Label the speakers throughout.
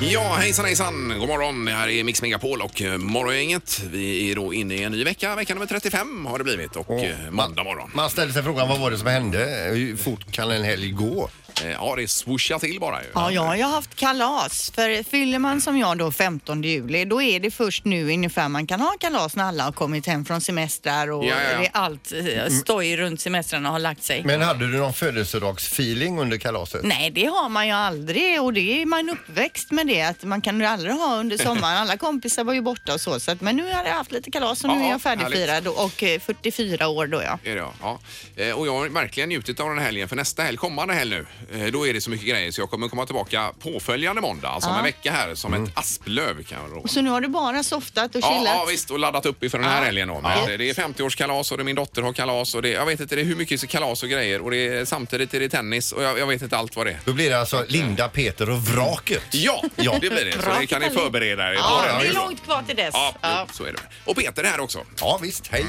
Speaker 1: Ja, hejsan hejsan! God morgon, det här är Mix Megapol och eh, Morgongänget. Vi är då inne i en ny vecka, vecka nummer 35 har det blivit och
Speaker 2: Och
Speaker 1: eh, måndag morgon.
Speaker 2: Man ställer sig frågan vad var det som hände? Hur fort kan en helg gå?
Speaker 1: Eh, Ja, det swooshar till bara ju.
Speaker 3: Ja, jag har ju haft kalas. För fyller man som jag då 15 juli, då är det först nu ungefär man kan ha kalas när alla har kommit hem från semestrar och
Speaker 1: Ja, ja, Mm. ja.
Speaker 3: det är allt eh, stoj runt semestrarna har lagt sig.
Speaker 2: Men hade du någon födelsedagsfeeling under kalaset?
Speaker 3: Nej, det har man ju aldrig och det är man uppväxt med det att man kan ju aldrig ha under sommaren. Alla kompisar var ju borta och så. så att, men nu har jag haft lite kalas och nu
Speaker 1: Ja,
Speaker 3: är jag färdigfirad och, och eh, 44 år då ja.
Speaker 1: Är det, ja. Ja. Eh, Och jag har verkligen njutit av den här helgen för nästa helg, kommande helg nu, eh, då är det så mycket grejer så jag kommer komma tillbaka påföljande måndag, alltså om en vecka här, som ett asplöv kan jag lova.
Speaker 3: Så nu har du bara softat Mm. och
Speaker 1: Ja,
Speaker 3: chillat?
Speaker 1: ja, visst och laddat upp inför den här
Speaker 3: Ja.
Speaker 1: helgen då. Men
Speaker 3: Ja.
Speaker 1: det- Det är 50-årskalas och det är min dotter har kalas och det, jag vet inte, det är hur mycket så kalas och grejer och det är, samtidigt är det tennis och jag, jag vet inte allt vad det är.
Speaker 2: Då blir det alltså Linda, Peter och vraket.
Speaker 1: Ja,
Speaker 2: Ja.
Speaker 1: det blir det. Så
Speaker 3: Bra
Speaker 1: det kan ni
Speaker 3: Kalle.
Speaker 1: förbereda er på.
Speaker 3: Ja,
Speaker 1: den.
Speaker 3: det
Speaker 1: ju
Speaker 3: är
Speaker 1: bra.
Speaker 3: långt kvar till dess.
Speaker 1: Ja,
Speaker 3: Ja.
Speaker 1: jo, så är det. Och Peter är här också.
Speaker 2: Ja visst, hej!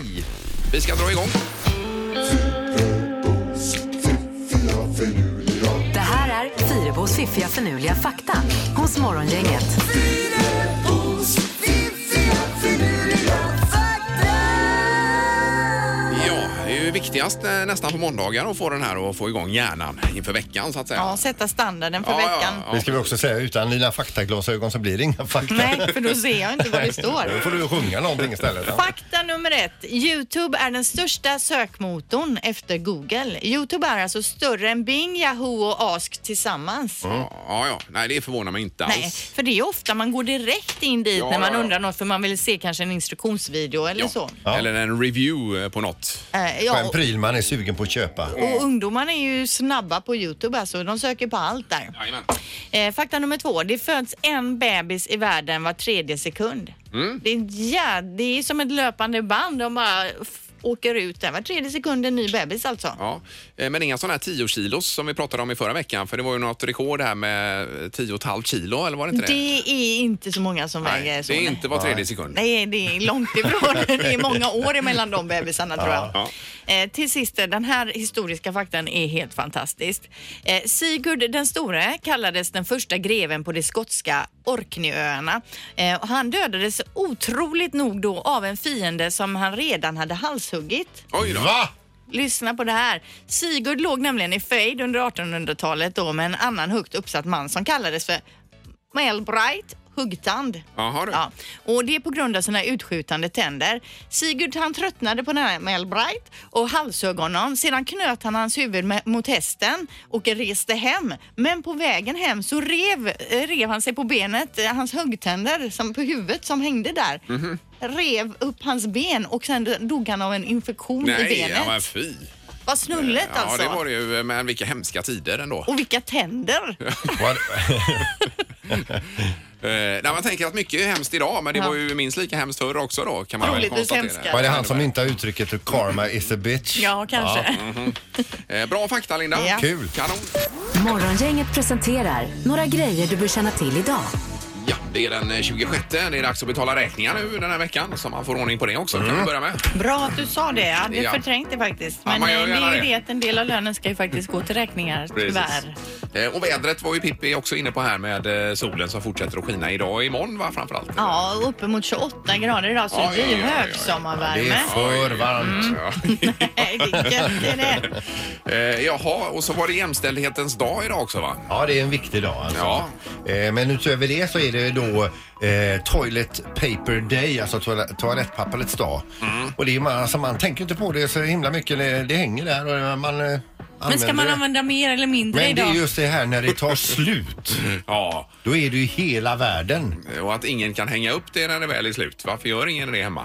Speaker 1: Vi ska dra igång.
Speaker 4: Det här är Fyrabos fiffiga förnuliga fakta hos Morgongänget.
Speaker 1: Ja, det är ju viktigast eh, nästan på måndagar att få den här och få igång hjärnan inför veckan så att säga.
Speaker 3: Ja, sätta standarden för
Speaker 1: Ja, ja,
Speaker 3: veckan.
Speaker 1: ja.
Speaker 2: Det ska vi också säga, utan dina faktaglasögon så blir det inga fakta.
Speaker 3: Nej, för då ser jag inte vad det
Speaker 2: Då
Speaker 3: står.
Speaker 2: får du sjunga någonting istället.
Speaker 3: Fakta nummer ett. Youtube är den största sökmotorn efter Google. Youtube är alltså större än Bing, Yahoo och Ask tillsammans.
Speaker 1: Ja, ja. Nej, det förvånar mig inte
Speaker 3: Nej,
Speaker 1: alls.
Speaker 3: för det är ofta man går direkt in dit
Speaker 1: Ja,
Speaker 3: när man
Speaker 1: ja, ja.
Speaker 3: undrar något för man vill se kanske en instruktionsvideo eller så.
Speaker 2: Ja.
Speaker 1: Eller en review eh, på något.
Speaker 3: Eh,
Speaker 2: På
Speaker 3: ja,
Speaker 2: en
Speaker 3: och,
Speaker 2: pryl man är sugen på att köpa.
Speaker 3: och ungdomarna är ju snabba på Youtube alltså. De söker på allt där.
Speaker 1: Jajamän.
Speaker 3: Eh, fakta nummer två. Det föds en bebis i världen var tredje sekund.
Speaker 1: Mm.
Speaker 3: Det, är, en jä- det är som ett löpande band. De bara f- åker ut där. Var tredje sekund en ny bebis alltså.
Speaker 1: Ja, eh, men inga sådana här 10 kilos som vi pratade om i förra veckan för det var ju något rekord här med eh, 10,5 kilo eller var det inte det?
Speaker 3: Det är inte så många som väger
Speaker 1: Nej,
Speaker 3: så.
Speaker 1: det är
Speaker 3: nej.
Speaker 1: inte var tredje sekund.
Speaker 3: Nej, det är långt ifrån. Det är många år emellan de bebisarna tror jag.
Speaker 1: Ja.
Speaker 3: Eh, till sist, den här historiska faktan är helt fantastisk. Eh, Sigurd den store kallades den första greven på de skotska Orkneyöarna. Eh, och han dödades otroligt nog då av en fiende som han redan hade halshuggit.
Speaker 1: Oj då.
Speaker 2: Va?
Speaker 3: Lyssna på det här. Sigurd låg nämligen i fejd under 1800-talet då med en annan högt uppsatt man som kallades för Melbright Huggtand.
Speaker 1: Jaha du.
Speaker 3: Ja, och det är på grund av sina utskjutande tänder. Sigurd han tröttnade på den här Melbright och halshögg honom. Sedan knöt han hans huvud med, mot hästen och reste hem. Men på vägen hem så rev, eh, rev han sig på benet, eh, hans huggtänder som, på huvudet som hängde där.
Speaker 1: Mhm.
Speaker 3: Rev upp hans ben och sen dog han av en infektion i
Speaker 1: Nej,
Speaker 3: benet.
Speaker 1: ja, men fy.
Speaker 3: Vad snullet
Speaker 1: Ja,
Speaker 3: alltså.
Speaker 1: det var det ju. Men vilka hemska tider ändå.
Speaker 3: Och vilka tänder!
Speaker 2: Vad-
Speaker 1: Eh, nej, man tänker att mycket är hemskt idag, men det
Speaker 3: Ja.
Speaker 1: var ju minst lika hemskt förr också då, kan man väl
Speaker 3: Troligtvis
Speaker 1: konstatera.
Speaker 3: hemskare.
Speaker 2: Var det han som myntade uttrycket karma is a bitch?
Speaker 3: Ja, kanske.
Speaker 1: Eh, bra fakta, Linda.
Speaker 3: Ja.
Speaker 2: Kul.
Speaker 1: Kanon.
Speaker 4: Morgongänget presenterar några grejer du bör känna till idag.
Speaker 1: Ja, det är den eh, 26. Det är dags att betala räkningar nu den här veckan, så man får ordning på det också. Kan
Speaker 2: Mm.
Speaker 1: vi börja med?
Speaker 3: Bra att du sa det. Jag hade
Speaker 1: Ja.
Speaker 3: förträngt det faktiskt.
Speaker 1: Ja,
Speaker 3: Men
Speaker 1: man gör
Speaker 3: eh, det
Speaker 1: gärna
Speaker 3: är ju
Speaker 1: det.
Speaker 3: det att en del av lönen ska ju faktiskt gå till räkningar, tyvärr.
Speaker 1: Eh, och vädret var ju Pippi också inne på här med eh, solen som fortsätter att skina idag och imorgon, va, framförallt.
Speaker 3: Ja, uppemot 28 grader idag så
Speaker 1: Oj, oj, oj,
Speaker 3: dyhög
Speaker 1: oj.
Speaker 2: Det
Speaker 3: sommarvärme.
Speaker 2: är för varmt.
Speaker 3: Nej, det är gött, det är det.
Speaker 1: Eh, jaha, och så var det jämställdhetens dag idag också, va?
Speaker 2: Ja, det är en viktig dag alltså.
Speaker 1: Ja.
Speaker 2: Eh, men utöver det så är det då eh, Toilet Paper Day, alltså toal- toalettpapperets dag.
Speaker 3: Mm.
Speaker 2: Och det är man, alltså, man tänker inte på det så himla mycket, det, det hänger där och man eh, använder
Speaker 3: Men ska man
Speaker 2: det.
Speaker 3: använda mer eller mindre
Speaker 2: Men det är
Speaker 3: idag?
Speaker 2: just det här när det tar slut,
Speaker 1: Ja,
Speaker 2: då är det ju hela världen.
Speaker 1: Eh, och att ingen kan hänga upp det när det väl är slut. Varför gör ingen det hemma?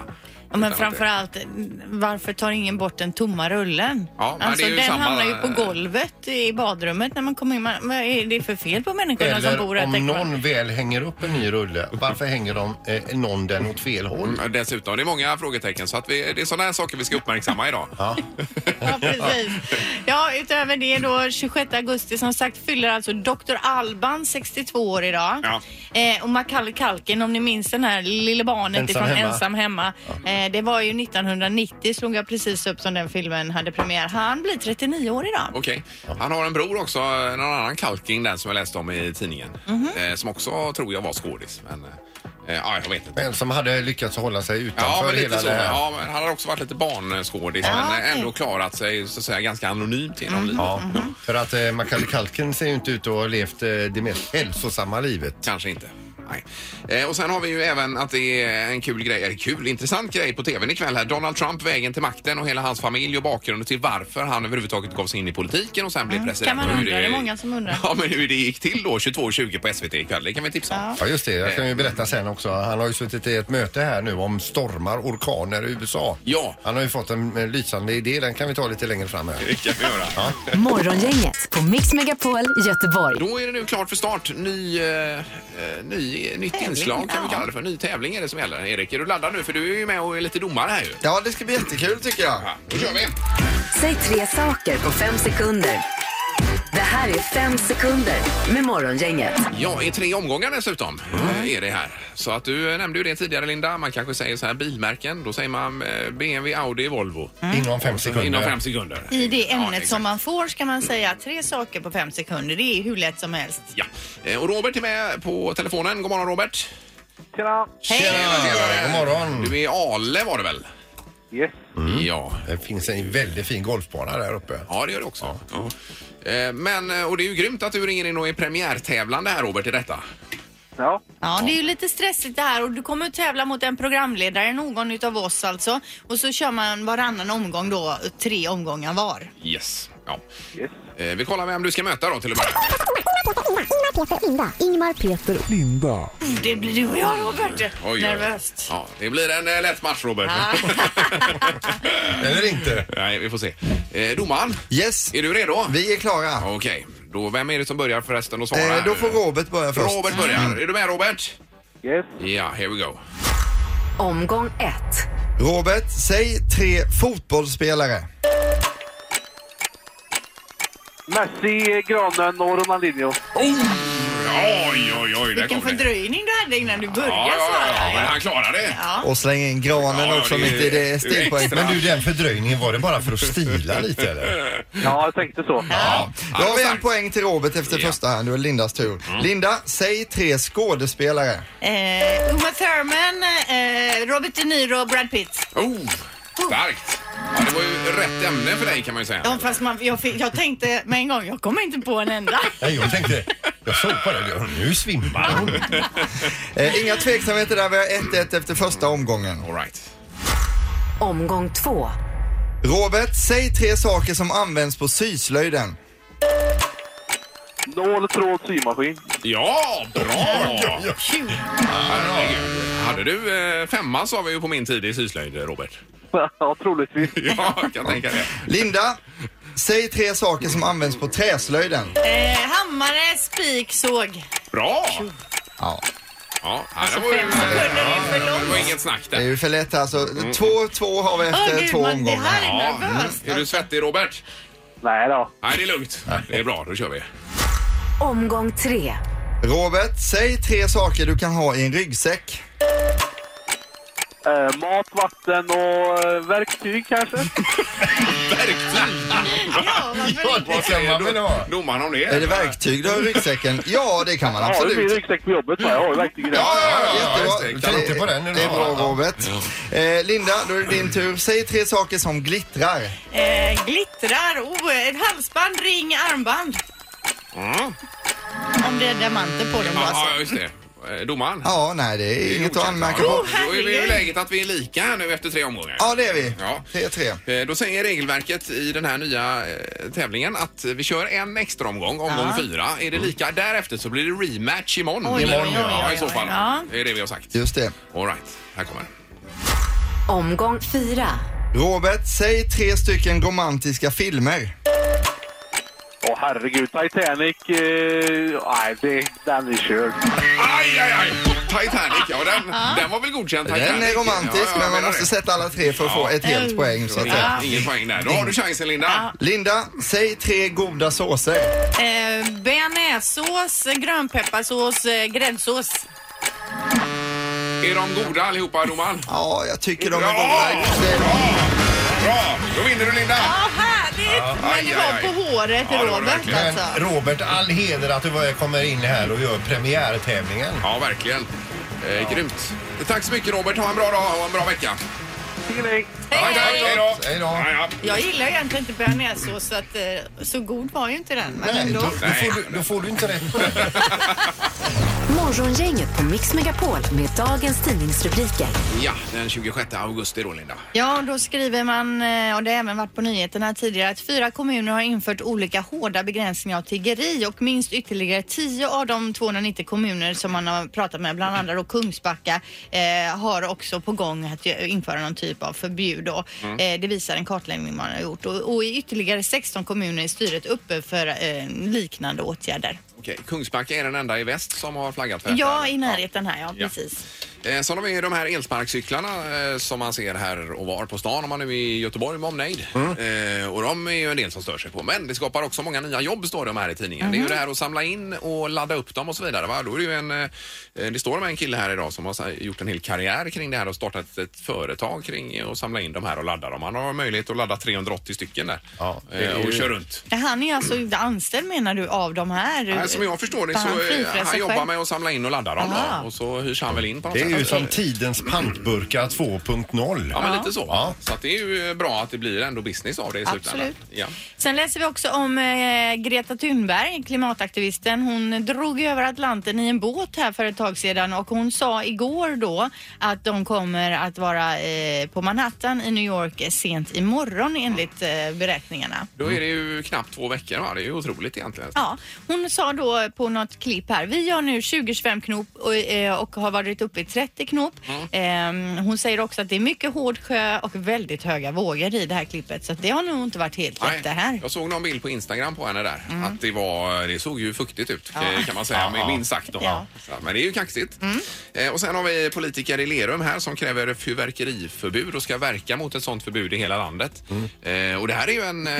Speaker 3: Ja, men framförallt, varför tar ingen bort den tomma rullen?
Speaker 1: Ja, men
Speaker 3: alltså,
Speaker 1: det är ju
Speaker 3: den
Speaker 1: samma- eh,
Speaker 3: hamnar ju på golvet i badrummet när man kommer in. Man- Vad är det för fel på människorna som
Speaker 2: Eller
Speaker 3: bor här?
Speaker 2: om
Speaker 3: tänker man?
Speaker 2: någon väl hänger upp en ny rulle, varför hänger de, eh, någon den åt fel
Speaker 3: Mm.
Speaker 2: håll?
Speaker 1: Ja, Mm, Dessutom, det är många frågetecken så att vi, det är sådana här saker vi ska uppmärksamma idag.
Speaker 2: Ja.
Speaker 3: Ja, precis. Ja, utöver det då, 26 augusti som sagt fyller alltså Dr. Alban 62 år idag.
Speaker 1: Ja.
Speaker 3: Eh, och Macaulay Culkin, om ni minns den här lille barnet
Speaker 2: Ensam
Speaker 3: ifrån
Speaker 2: hemma.
Speaker 3: Ensam hemma. Eh, Eh, Det var ju 1990 slog jag precis upp som den filmen hade premiär. Han blir 39 år idag.
Speaker 1: Okej. Han har en bror också, en annan kalking den som jag läste om i tidningen.
Speaker 2: Mhm.
Speaker 1: Eh, som också tror jag var skådis. Men eh, ja, jag vet inte.
Speaker 2: En som hade lyckats hålla sig
Speaker 1: Ja,
Speaker 2: utanför
Speaker 1: men lite
Speaker 2: hela
Speaker 1: så.
Speaker 2: det här.
Speaker 1: Ja, men han har också varit lite barnskådis
Speaker 3: Ja,
Speaker 1: men
Speaker 3: okej.
Speaker 1: ändå klarat sig så att säga, ganska anonymt genom livet.
Speaker 2: Mm. Ja, för att eh, Macaulay Culkin ser ju inte ut att ha levt eh, det mest hälsosamma livet.
Speaker 1: Kanske inte. Nej. Eh, och sen har vi ju även att det är en kul grej, eller kul, intressant grej på tvn ikväll här. Donald Trump, vägen till makten och hela hans familj och bakgrunden till varför han överhuvudtaget gav sig in i politiken och sen blev president.
Speaker 3: Kan man
Speaker 1: Och hur
Speaker 3: undra? Det är många som undrar.
Speaker 1: Ja, men hur det gick till då 22.20 på SVT ikväll, det kan vi tipsa om.
Speaker 2: Ja just det, jag kan ju berätta sen också. Han har ju suttit i ett möte här nu om stormar, orkaner i USA.
Speaker 1: Ja.
Speaker 2: Han har ju fått en eh, lysande idé, den kan vi ta lite längre fram här.
Speaker 1: Det kan vi göra.
Speaker 4: Morgongänget på Mix Megapol Göteborg.
Speaker 1: Då är det nu klart för start. Ny, eh, eh, ny, nytt inslag kan vi
Speaker 3: ja.
Speaker 1: kalla det för. Ny tävling är det som gäller. Erik, är du laddad nu? För du är ju med och är lite domare här ju.
Speaker 5: Ja, det ska bli jättekul tycker jag.
Speaker 1: Ja, Då kör vi!
Speaker 2: Mm.
Speaker 4: Säg tre saker på fem sekunder. Det här är fem sekunder med Morgongänget.
Speaker 1: Ja, i tre omgångar dessutom
Speaker 2: Mm.
Speaker 1: eh, är det här. Så att du eh, nämnde ju det tidigare Linda. Man kanske säger så här bilmärken. Då säger man eh, BMW, Audi, Volvo. Alltså,
Speaker 2: Inom fem sekunder.
Speaker 1: Inom fem sekunder.
Speaker 3: I det
Speaker 1: Ja,
Speaker 3: ämnet
Speaker 1: exakt.
Speaker 3: som man får ska man säga tre saker på fem sekunder. Det är hur lätt som helst.
Speaker 1: Ja. Eh, Och Robert är med på telefonen. God morgon Robert.
Speaker 6: Tjena!
Speaker 3: Hej!
Speaker 2: Ja, god morgon. Mm.
Speaker 1: Du är i Ale var det väl?
Speaker 6: Yes.
Speaker 1: Ja.
Speaker 2: Det finns en väldigt fin golfbana där uppe.
Speaker 1: Ja, det gör det också. Ja. Eh, Men, eh, och det är ju grymt att du ringer in och är premiärtävlande här Robert i detta.
Speaker 6: Ja.
Speaker 3: Ja, det är ju lite stressigt det här och du kommer att tävla mot en programledare, någon utav oss alltså. Och så kör man varannan omgång då, tre omgångar var.
Speaker 1: Yes. Ja.
Speaker 6: Yes.
Speaker 1: Eh, Vi kollar vem du ska möta då till att börja med.
Speaker 7: Ingmar, Peter, Linda. Ingmar, Peter, Linda.
Speaker 3: Det blir du och jag Robert.
Speaker 1: Oj, oj, oj.
Speaker 3: Nervöst.
Speaker 1: Ja, det blir en eh, lätt match Robert.
Speaker 2: Eller inte?
Speaker 1: Nej, vi får se. Eh, domaren,
Speaker 5: Yes,
Speaker 1: är du redo?
Speaker 5: vi är klara.
Speaker 1: Okej, då vem är det som börjar förresten och svarar?
Speaker 5: Eh, då får Robert börja först. Mm.
Speaker 1: Robert börjar. Är du med Robert?
Speaker 6: Yes.
Speaker 1: Ja, here we go.
Speaker 4: Omgång ett.
Speaker 5: Robert, säg tre fotbollsspelare.
Speaker 6: Messi, Granen och Ronaldinho.
Speaker 1: Oj, oj, oj, där
Speaker 3: Mm. Vilken
Speaker 1: kom det.
Speaker 3: fördröjning du hade innan du
Speaker 1: Ja,
Speaker 3: började
Speaker 1: ja, ja, men
Speaker 3: svara.
Speaker 1: han klarade det.
Speaker 3: Ja.
Speaker 5: Och släng in granen
Speaker 1: Ja,
Speaker 5: också
Speaker 1: det är-
Speaker 5: mitt i
Speaker 1: det är
Speaker 5: det stilpoänget.
Speaker 1: extra.
Speaker 5: Men
Speaker 2: Men
Speaker 5: du,
Speaker 2: du, den fördröjningen, var det bara för att stila lite eller?
Speaker 6: Ja, jag tänkte så.
Speaker 1: Ja,
Speaker 5: då har vi en
Speaker 1: starkt.
Speaker 5: poäng till Robert efter
Speaker 1: Ja. Mm.
Speaker 5: första här. Nu är Lindas tur. Linda, säg tre skådespelare.
Speaker 3: Eh, Uma Thurman, eh, Robert De Niro och Brad Pitt.
Speaker 1: Oh, starkt. Ja, det var ju rätt ämne för dig kan man ju säga.
Speaker 3: Ja, fast man, jag, fick, jag tänkte med en gång, jag kommer inte på en enda.
Speaker 2: Nej, jag tänkte, jag såg på det, nu svimmar hon.
Speaker 5: Eh, inga tveksamheter där. Vi har 1-1 efter första omgången.
Speaker 1: All right.
Speaker 4: Omgång två.
Speaker 5: Robert, säg tre saker som används på syslöjden.
Speaker 6: Nål, tråd, symaskin.
Speaker 1: Ja, bra!
Speaker 3: Tjugo.
Speaker 1: Herregud. Hade du eh, femma sa vi ju på min tid i syslöjd, eh, Robert.
Speaker 6: ja, troligtvis.
Speaker 1: Ja, jag kan tänka det.
Speaker 5: Linda, säg tre saker som används på träslöjden.
Speaker 3: Eh, hammare, spik, såg.
Speaker 1: Bra!
Speaker 5: Ja,
Speaker 1: Ja, det var, ju,
Speaker 3: Fem sekunder är för
Speaker 1: det
Speaker 3: långt.
Speaker 1: var inget snack
Speaker 5: det är
Speaker 1: där.
Speaker 5: ju för lätt här, så
Speaker 1: Mm.
Speaker 5: 2-2 har vi
Speaker 3: Åh
Speaker 5: efter
Speaker 3: gud,
Speaker 5: två
Speaker 3: man, det
Speaker 5: omgångar.
Speaker 3: här
Speaker 5: här.
Speaker 3: är nervöst.
Speaker 1: Är du svettig, Robert?
Speaker 6: Nej då.
Speaker 1: Nej, det är lugnt. Det är bra, då kör vi.
Speaker 4: Omgång tre.
Speaker 5: Robert, säg tre saker du kan ha i en ryggsäck.
Speaker 6: Eh, mat, vatten och eh, verktyg kanske?
Speaker 1: Verkligen!
Speaker 3: Ja, varför inte?
Speaker 2: Vad kan man väl ha?
Speaker 1: Domaren om det?
Speaker 5: Är det verktyg du har i ryggsäcken? Ja, det kan man
Speaker 6: Ja, det blir
Speaker 5: absolut.
Speaker 6: ryggsäck på jobbet. va? Jag har ju verktyg i den.
Speaker 5: Ja, ja,
Speaker 2: Ja,
Speaker 5: ja,
Speaker 2: just det.
Speaker 5: jättebra.
Speaker 2: Tänkte på den idag.
Speaker 5: det är bra Robert. Eh, Linda, då är det din tur. Säg tre saker som glittrar.
Speaker 3: Eh, glittrar, oh, ett halsband, ring, armband.
Speaker 1: Mm.
Speaker 3: Om det är diamanter på dem alltså.
Speaker 1: Ja, just det. Eh, Domaren?
Speaker 5: Ja, nej det är inget att anmärka
Speaker 1: Ja,
Speaker 5: på.
Speaker 1: Då är vi i
Speaker 3: herregud.
Speaker 1: läget att vi är lika här nu efter tre omgångar.
Speaker 5: Ja, det är vi.
Speaker 1: Ja.
Speaker 5: 3-3.
Speaker 1: Eh, Då säger regelverket i den här nya eh, tävlingen att vi kör en extra omgång, omgång
Speaker 3: Ja.
Speaker 1: fyra. Är det lika därefter så blir det rematch imorgon.
Speaker 3: Oj,
Speaker 1: imorgon
Speaker 3: oj, oj,
Speaker 1: ja, i
Speaker 3: oj,
Speaker 1: så
Speaker 3: oj.
Speaker 1: fall.
Speaker 3: Ja.
Speaker 1: Det är det vi har sagt.
Speaker 5: Just det.
Speaker 1: All right, här kommer den.
Speaker 4: Omgång fyra.
Speaker 5: Robert, säg tre stycken romantiska filmer.
Speaker 6: Åh herregud, Titanic. Eh, nej, det, den är körd.
Speaker 1: Aj, aj, aj! Titanic, ja den, den var väl godkänd Titanic.
Speaker 5: Den är romantisk,
Speaker 1: Ja,
Speaker 5: men
Speaker 1: jag
Speaker 5: man
Speaker 1: menar
Speaker 5: måste
Speaker 1: det.
Speaker 5: sätta alla tre för att få ett helt
Speaker 3: Ja.
Speaker 5: poäng. Så att säga.
Speaker 1: Ja. Ingen poäng där. Då har du chansen Linda.
Speaker 5: Linda, säg tre goda såser.
Speaker 3: Eh, bearnaisesås, grönpepparsås, eh, gräddsås.
Speaker 1: Är de goda allihopa, domaren?
Speaker 5: Ja, jag tycker de är
Speaker 1: Bra!
Speaker 5: goda.
Speaker 1: Bra! Bra! Då vinner du, Linda!
Speaker 3: Ja, härligt!
Speaker 1: aj,
Speaker 3: Men det var
Speaker 1: aj.
Speaker 3: på håret,
Speaker 1: Ja, det var det
Speaker 3: Robert
Speaker 1: verkligen.
Speaker 2: Men
Speaker 3: alltså.
Speaker 2: Robert, all heder att du var- kommer in här och gör premiärtävlingen.
Speaker 1: Ja, verkligen. Eh, Grymt. Tack så mycket, Robert. Ha en bra dag och en bra vecka.
Speaker 6: Tjingeling!
Speaker 1: Hej, hej! Hej då!
Speaker 2: Hej då.
Speaker 1: Ja, ja.
Speaker 3: Jag gillar egentligen inte bearnaisesås, så, att, eh, så god var ju inte den. Men
Speaker 2: Nej, då,
Speaker 3: ändå.
Speaker 2: då, får du, då får du inte rätt på det.
Speaker 4: Morgongänget på Mix Megapol med dagens tidningsrubriker.
Speaker 1: Ja, den 26 augusti då, Linda.
Speaker 3: Ja, då skriver man, eh, och det har även varit på nyheterna tidigare, att fyra kommuner har infört olika hårda begränsningar av tiggeri och minst ytterligare tio av de 290 kommuner som man har pratat med, bland andra då Kungsbacka, eh, har också på gång att gö- införa någon typ av förbud. Då.
Speaker 1: Mm.
Speaker 3: Eh, det visar en kartläggning man har gjort. Och, och i ytterligare 16 kommuner är styret uppe för eh, liknande åtgärder.
Speaker 1: Okej, Kungsbacka är den enda i väst som har flaggat för detta.
Speaker 3: Ja,
Speaker 1: eller?
Speaker 3: i närheten här, ja,
Speaker 1: Ja.
Speaker 3: precis.
Speaker 1: Eh, Sen har vi de här elsparkcyklarna eh, som man ser här och var på stan om man nu är i Göteborg med omnejd.
Speaker 2: Mm.
Speaker 1: Eh, Och de är ju en del som stör sig på. Men det skapar också många nya jobb står det om här i tidningen. Det är ju det här att samla in och ladda upp dem och så vidare. Va? Då är det, ju en, eh, det står om en kille här idag som har sa- gjort en hel karriär kring det här och startat ett företag kring att samla in de här och ladda dem. Han har möjlighet att ladda 380 stycken där
Speaker 2: Ja, det
Speaker 1: eh,
Speaker 2: är
Speaker 1: och
Speaker 2: ju-
Speaker 1: kör runt.
Speaker 3: Han är alltså inte anställd menar du av de här?
Speaker 1: Nej, som jag förstår det så
Speaker 3: Utan han
Speaker 1: eh,
Speaker 3: frifräser
Speaker 1: han jobbar
Speaker 3: själv.
Speaker 1: med att samla in och ladda dem
Speaker 3: Aha.
Speaker 1: då, och så hyrs han väl in på något
Speaker 2: Det är
Speaker 1: sätt.
Speaker 2: ju som tidens pantburkar 2.0.
Speaker 1: Ja, men lite så.
Speaker 2: Ja.
Speaker 1: Så att det är ju bra att det blir ändå business av det i slutändan.
Speaker 3: Absolut.
Speaker 1: Ja.
Speaker 3: Sen läser vi också om eh, Greta Thunberg, klimataktivisten. Hon drog över Atlanten i en båt här för ett tag sedan och hon sa igår då att de kommer att vara eh, på Manhattan i New York sent imorgon enligt eh, beräkningarna.
Speaker 1: Då är det ju knappt två veckor va? Det är ju otroligt egentligen.
Speaker 3: Ja, hon sa då på något klipp här, vi gör nu 20-25 knop och, eh, och har varit uppe i 30 knop.
Speaker 1: Mm.
Speaker 3: Ehm, hon säger också att det är mycket hård sjö och väldigt höga vågor i det här klippet så att det har nog inte varit helt lätt
Speaker 1: Nej,
Speaker 3: det här. Mm.
Speaker 1: Jag såg någon bild på Instagram på henne där. Att det, var, det såg ju fuktigt ut eh,
Speaker 3: Ja.
Speaker 1: kan man säga, men minst sagt. Då.
Speaker 3: Ja. Mm.
Speaker 1: Så, men det är ju kaxigt. Eh, och sen har vi politiker i Lerum här som kräver fyrverkeriförbud och ska verka mot ett sånt förbud i hela landet.
Speaker 2: Mm.
Speaker 1: Eh, och det här är ju en eh,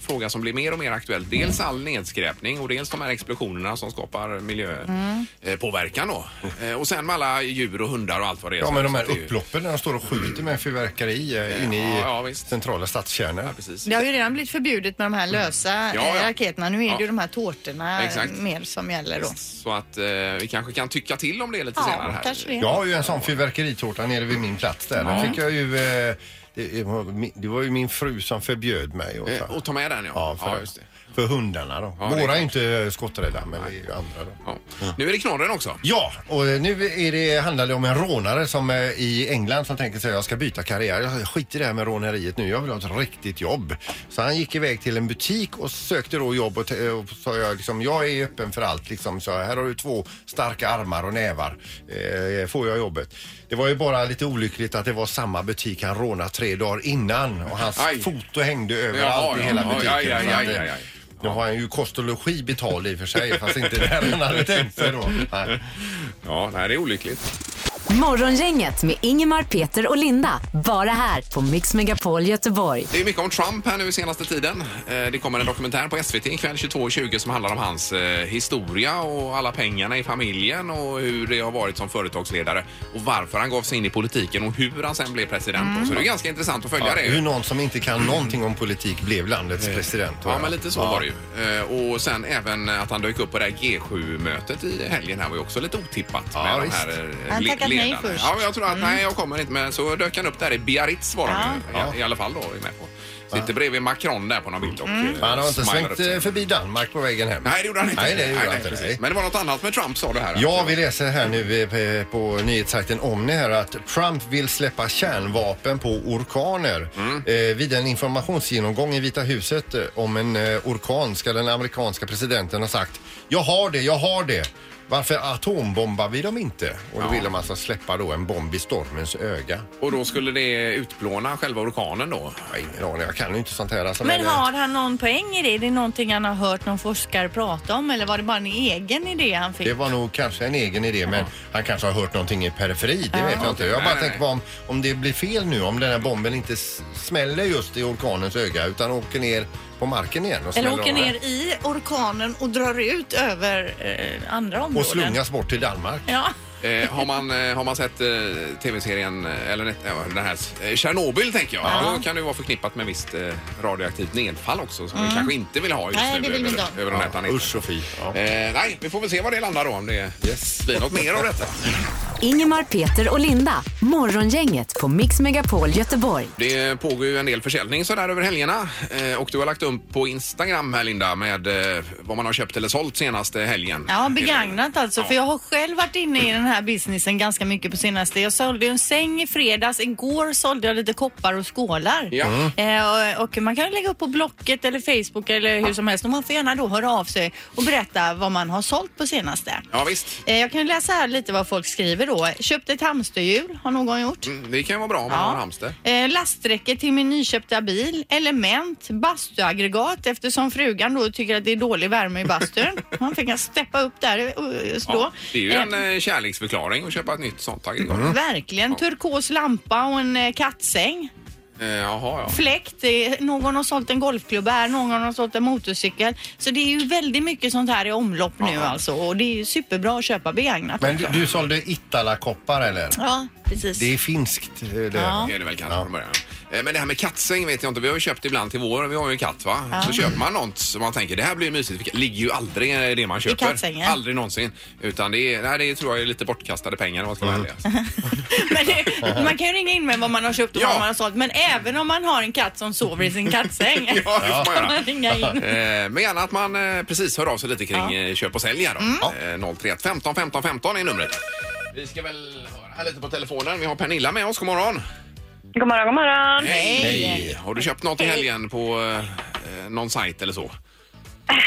Speaker 1: fråga som blir mer och mer aktuell. Dels all nedskräpning och dels de här explosionerna som skapar miljöpåverkan då. Eh, och sen med alla djur och hundar och allt vad det är.
Speaker 2: Ja,
Speaker 1: Så-
Speaker 2: men de
Speaker 1: så
Speaker 2: här
Speaker 1: att det är ju-
Speaker 2: upploppen när de står och skjuter med fyrverkeri eh, inne i
Speaker 1: Ja, ja, visst.
Speaker 2: centrala stadskärnor.
Speaker 1: Ja, precis.
Speaker 3: Det har ju redan blivit förbjudet med de här lösa
Speaker 1: Ja, ja.
Speaker 3: eh, raketerna. Nu är
Speaker 1: Ja.
Speaker 3: det ju de här tårtorna eh,
Speaker 1: Exakt.
Speaker 3: mer som gäller då.
Speaker 1: Så att eh, vi kanske kan tycka till om det lite
Speaker 3: Ja,
Speaker 1: senare här.
Speaker 3: kanske det.
Speaker 2: Jag har ju en sån fyrverkeritårta nere vid min plats där. Den fick jag ju... eh, Det var min- det var ju min fru som förbjöd mig. Och,
Speaker 1: Eh, Och ta med den ja.
Speaker 2: ja, för,
Speaker 1: ja, just det.
Speaker 2: för hundarna då.
Speaker 1: Ja, det är
Speaker 2: Våra är
Speaker 1: klart.
Speaker 2: inte skotträdda, men det är ju andra då.
Speaker 1: Ja. Nu är det knorren också.
Speaker 2: Ja, och eh, nu är det, handlar det om en rånare som eh, i England som tänker sig jag ska byta karriär. Jag skiter i det här med råneriet nu. Jag vill ha ett riktigt jobb. Så han gick iväg till en butik och sökte då jobb och, t- och sa jag liksom, jag är öppen för allt liksom. Så här har du två starka armar och nävar. Eh, får jag jobbet? Det var ju bara lite olyckligt att det var samma butik han rånade tre dagar innan och hans
Speaker 1: Aj.
Speaker 2: foto hängde överallt
Speaker 1: Jaha,
Speaker 2: i hela
Speaker 1: jaha,
Speaker 2: butiken.
Speaker 1: aj, aj,
Speaker 2: Så att,
Speaker 1: aj, aj,
Speaker 2: eh,
Speaker 1: aj.
Speaker 2: Nu har han ju kost och logi betald i och för sig, fast inte det här han hade tänkt sig då. Nej.
Speaker 1: Ja, nej, det är olyckligt.
Speaker 4: Morgongänget med Ingemar, Peter och Linda. Bara här på Mix Megapol Göteborg.
Speaker 1: Det är mycket om Trump här nu i senaste tiden. Eh, Det kommer en dokumentär på SVT ikväll 22.20 som handlar om hans eh, historia och alla pengarna i familjen och hur det har varit som företagsledare och varför han gav sig in i politiken och hur han sen blev president. Så det är ganska intressant att följa det.
Speaker 2: Hur någon som inte kan någonting om politik blev landets president.
Speaker 1: Ja,
Speaker 2: tror jag.
Speaker 1: men lite så var det ju. Eh, Och sen även att han dök upp på det här G7-mötet i helgen här var ju också lite otippat.
Speaker 2: Ja,
Speaker 1: med
Speaker 2: visst.
Speaker 1: de här eh,
Speaker 3: Han
Speaker 1: le-
Speaker 3: tackat nej
Speaker 1: ledarna.
Speaker 3: först. Mm.
Speaker 1: Ja, men jag tror att nej, jag kommer inte. Men så dök han upp där i Biarritz var han ju, i, i alla fall då. är Med på. Sitter bredvid Macron där på någon bild och mm.
Speaker 2: Men Han har inte svängt eh, förbi Danmark på vägen hem.
Speaker 1: Nej, det gjorde han inte.
Speaker 2: Nej, det gjorde han
Speaker 1: precis.
Speaker 2: inte. Nej.
Speaker 1: Men det var något annat med Trump sa du här.
Speaker 2: Ja, vi läser här nu eh, på nyhetssajten Omni här att Trump vill släppa kärnvapen på orkaner.
Speaker 1: Mm.
Speaker 2: Eh, vid en informationsgenomgång i Vita huset eh, om en eh, orkan ska den amerikanska presidenten ha sagt Jag har det, jag har det. Varför atombombar vi dem inte? Och då vill de alltså släppa då en bomb i stormens öga.
Speaker 1: Och då skulle det utplåna själva orkanen då.
Speaker 2: Jag har ingen aning, jag kan ju inte sånt här. Alltså,
Speaker 3: Men
Speaker 2: eh,
Speaker 3: har han någon poäng i det? Är det någonting han har hört någon forskare prata om eller var det bara en egen idé han fick?
Speaker 2: Det var nog kanske en egen idé men han kanske har hört någonting i periferi. Det vet jag inte. Jag bara
Speaker 1: Nej,
Speaker 2: tänker på om, om det blir fel nu om den här bomben inte s- smäller just i orkanens öga utan åker ner på marken igen. Och
Speaker 3: Eller
Speaker 2: smäller
Speaker 3: åker
Speaker 2: av
Speaker 3: ner
Speaker 2: den.
Speaker 3: i orkanen och drar ut över eh, andra områden.
Speaker 2: Och slungas bort till Danmark.
Speaker 3: Ja.
Speaker 1: Eh, har, man, eh, har man sett eh, tv-serien, eh, eller net, eh, den här, eh, Tjernobyl tänker jag, då kan det ju vara förknippat med visst eh, radioaktivt nedfall också som vi kanske inte vill ha just
Speaker 3: Mm. Nej,
Speaker 1: nu
Speaker 3: det vill vi
Speaker 1: över,
Speaker 3: inte ha.
Speaker 1: över den här planeten.
Speaker 2: Usch och fy. Ja.
Speaker 1: Eh, nej, vi får väl se var det landar då om det blir något mer av detta.
Speaker 4: Ingemar, Peter och Linda. Morgongänget på Mix Megapol Göteborg.
Speaker 1: Det pågår ju en del försäljning sådär över helgerna eh, och du har lagt upp på Instagram här Linda med eh, vad man har köpt eller sålt senaste helgen.
Speaker 3: Ja, begagnat alltså. För jag har själv varit inne i den här businessen ganska mycket på senaste. Jag sålde ju en säng i fredags. Igår sålde jag lite koppar och skålar.
Speaker 1: Ja.
Speaker 3: Eh, och, och man kan lägga upp på Blocket eller Facebook eller hur som helst. Och man får gärna då höra av sig och berätta vad man har sålt på senaste.
Speaker 1: Ja, visst.
Speaker 3: Eh, jag kan läsa här lite vad folk skriver då. Köpte ett hamsterhjul, har någon gjort.
Speaker 1: Mm, Det kan ju vara bra om man har en hamster.
Speaker 3: Eh, lasträcke till min nyköpta bil, element, bastuaggregat eftersom frugan då tycker att det är dålig värme i bastun. Man fick steppa upp där och och slå.
Speaker 1: Ja, det är ju
Speaker 3: Eh,
Speaker 1: en mm. eh, kärleksförklaring att köpa ett nytt sånt aggregat.
Speaker 3: Verkligen. Turkos lampa och en eh, kattsäng.
Speaker 2: Mm.
Speaker 1: Eh, jaha, ja.
Speaker 3: Fläkt. eh, Någon har sålt en golfklubba här, någon har sålt en motorcykel. Så det är ju väldigt mycket sånt här i omlopp nu alltså. Och det är ju superbra att köpa begagnat.
Speaker 2: Men du, du sålde Itala-koppar eller?
Speaker 3: Ja, precis.
Speaker 2: Det är finskt. eh, Det.
Speaker 3: Ja.
Speaker 1: Det är det väl kanske från början. Eh, Men det här med kattsäng vet jag inte. Vi har ju köpt ibland till vår. Vi har ju en katt va? Så köper man något som man tänker det här blir ju mysigt. Det ligger ju aldrig i det man köper.
Speaker 3: kattsängen?
Speaker 1: Aldrig någonsin. Utan det, är, nej, det tror jag är lite bortkastade pengar om man ska vara ärlig.
Speaker 3: Men det, man kan ju ringa in med vad man har köpt och
Speaker 1: Ja.
Speaker 3: vad man har sålt. Men även om man har en katt som sover i sin kattsäng.
Speaker 1: Ja, det får man
Speaker 3: kan
Speaker 1: göra.
Speaker 3: man ringa in.
Speaker 1: Eh, Men gärna att man eh, precis hör av sig lite kring eh, köp och sälj här då. Eh, 031 15 15 15 är numret. Vi ska väl höra här lite på telefonen. Vi har Pernilla med oss. God morgon.
Speaker 8: God morgon, god morgon.
Speaker 1: Hej! Har du köpt något i helgen på eh, någon sajt eller så?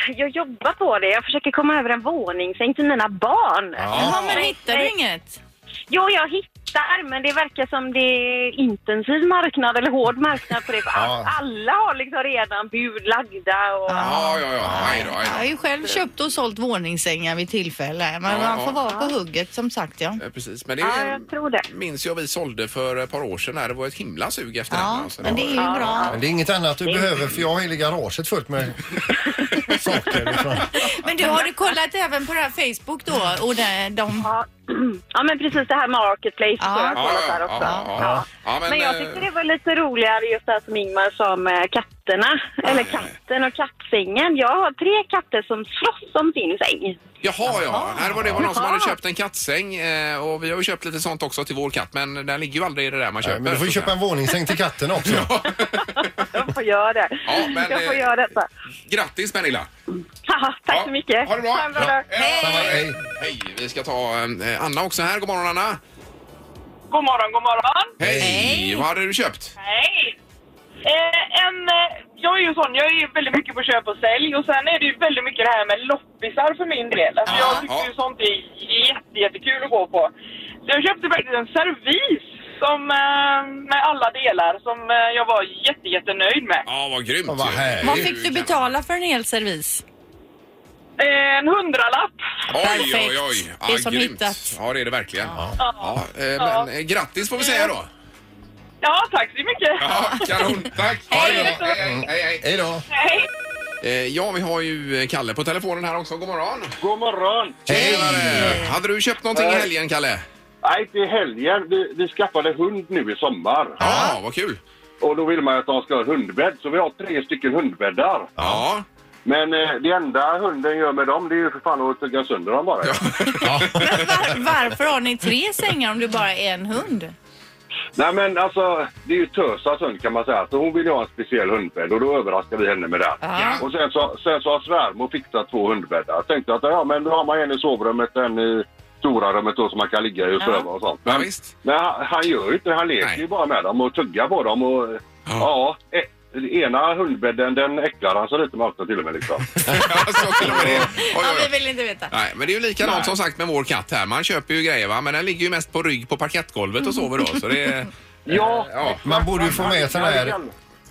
Speaker 8: Jag jobbar på det. Jag försöker komma över en våningssäng till mina barn.
Speaker 3: Jaha, men hittar du inget?
Speaker 8: Jo, jag hittar, men det verkar som det är intensiv marknad eller hård marknad på det. För all- Alla har liksom redan bud lagda och...
Speaker 1: Ja, ja, ja. Aj då, aj
Speaker 3: Jag har
Speaker 1: då.
Speaker 3: ju själv köpt och sålt våningssängar vid tillfälle. Men
Speaker 1: Ja,
Speaker 3: man får
Speaker 1: ja.
Speaker 3: vara på hugget som sagt ja.
Speaker 1: Eh, Precis, men det
Speaker 8: Ja,
Speaker 1: är-
Speaker 8: jag tror det.
Speaker 1: minns jag vi sålde för ett par år sedan. Här. Det var ett himla sug efter den.
Speaker 3: Ja,
Speaker 1: Alltså.
Speaker 3: men det är ju bra.
Speaker 2: Men det är inget annat du behöver för jag har hela garaget fullt med saker. ifrån-
Speaker 3: Men du, har du kollat även på det här Facebook då? Och det, de...
Speaker 8: Ja. ja, men precis det här med Marketplace
Speaker 3: Ja.
Speaker 8: tror jag har
Speaker 1: Ja,
Speaker 8: kollat
Speaker 1: ja,
Speaker 8: där
Speaker 1: ja,
Speaker 8: också.
Speaker 1: ja, ja. Ja, men,
Speaker 8: Men jag
Speaker 1: eh,
Speaker 8: tyckte det var lite roligare just det här som Ingmar sa med katterna. Eller katten och kattsängen. Jag har tre katter som slåss om sin säng.
Speaker 1: Jaha, ja. Här var det var någon som
Speaker 8: Jaha.
Speaker 1: hade köpt en kattsäng eh, och vi har ju köpt lite sånt också till vår katt men den ligger ju aldrig i det där man köper.
Speaker 2: Nej, men du får ju
Speaker 1: så
Speaker 2: köpa en
Speaker 1: att
Speaker 2: våningssäng till katten också.
Speaker 8: Jag får göra det.
Speaker 1: Ja, men,
Speaker 8: jag får
Speaker 1: eh,
Speaker 8: göra detta.
Speaker 1: säga. Grattis Pernilla!
Speaker 8: Haha, tack
Speaker 1: Ja,
Speaker 8: så mycket.
Speaker 1: Ha det bra!
Speaker 8: en bra dag.
Speaker 2: Hej.
Speaker 1: Hej! Vi ska ta eh, Anna också här. God morgon Anna!
Speaker 8: God morgon, god morgon.
Speaker 1: Hej!
Speaker 3: Hej.
Speaker 1: Vad hade du köpt?
Speaker 8: Hej! Eh, en, eh, jag är ju sån, jag är ju väldigt mycket på köp och sälj och sen är det ju väldigt mycket det här med loppisar för min del. Alltså, jag tycker ju
Speaker 1: Ja.
Speaker 8: sånt är jätte, jättekul att gå på. Så jag köpte faktiskt en servis som, eh, med alla delar som eh, jag var jätte, jättenöjd med.
Speaker 1: Ja, vad grymt
Speaker 2: Ja, vad
Speaker 1: ju.
Speaker 2: härligt.
Speaker 3: Vad fick du betala för en hel servis?
Speaker 8: Eh, en hundralapp.
Speaker 1: Oj, oj, oj!
Speaker 3: Perfekt.
Speaker 1: Ja,
Speaker 3: Det är som
Speaker 1: grymt.
Speaker 3: hittat.
Speaker 1: Ja, det är det verkligen. Ja.
Speaker 8: Ja.
Speaker 1: eh, men eh, grattis får vi säga då!
Speaker 8: ja, tack så mycket.
Speaker 1: Ja, kanon! Tack! Ha det bra. Hej, hej, hej!
Speaker 2: Hej då.
Speaker 8: Hej!
Speaker 1: Eh, Ja, vi har ju eh, Kalle på telefonen här också. God morgon!
Speaker 6: God morgon!
Speaker 1: Hej! Hade du köpt någonting i
Speaker 3: Eh.
Speaker 6: Hej.
Speaker 1: helgen, Kalle?
Speaker 6: Nej, inte i helgen. Vi, vi skaffade hund nu i sommar.
Speaker 1: Ja, vad kul!
Speaker 6: Och då vill man ju att de ska ha hundbädd, så vi har tre stycken hundbäddar.
Speaker 1: Ja.
Speaker 6: Men eh, det enda hunden gör med dem, det är ju för fan att tugga sönder dem bara.
Speaker 3: Men var, varför har ni tre sängar om du bara är en hund?
Speaker 6: Nej men alltså, det är ju Tösas hund kan man säga. Så hon vill ju ha en speciell hundbädd och då överraskar vi henne med det.
Speaker 3: Ja.
Speaker 6: Och sen så, sen så har svärmor fixat två hundbäddar. Jag tänkte att ja men då har man en i sovrummet och en i stora rummet då som man kan ligga i och
Speaker 3: Ja.
Speaker 6: sova och sånt.
Speaker 1: Ja,
Speaker 6: Men,
Speaker 1: visst.
Speaker 6: men han, han gör ju inte Han leker
Speaker 1: Nej.
Speaker 6: ju bara med dem och tuggar på dem och ja, e- ena hundbädden den äcklar han så lite med allt till och med liksom.
Speaker 1: Alltså, till och med det. Oj,
Speaker 3: Ja,
Speaker 1: oj,
Speaker 3: vi
Speaker 1: oj.
Speaker 3: vill inte veta.
Speaker 1: Nej, men det är ju likadant som sagt med vår katt här. Man köper ju grejer va, men den ligger ju mest på rygg på parkettgolvet och sover då. Så det är...
Speaker 6: ja,
Speaker 1: Ja.
Speaker 2: Man borde ju få med sån här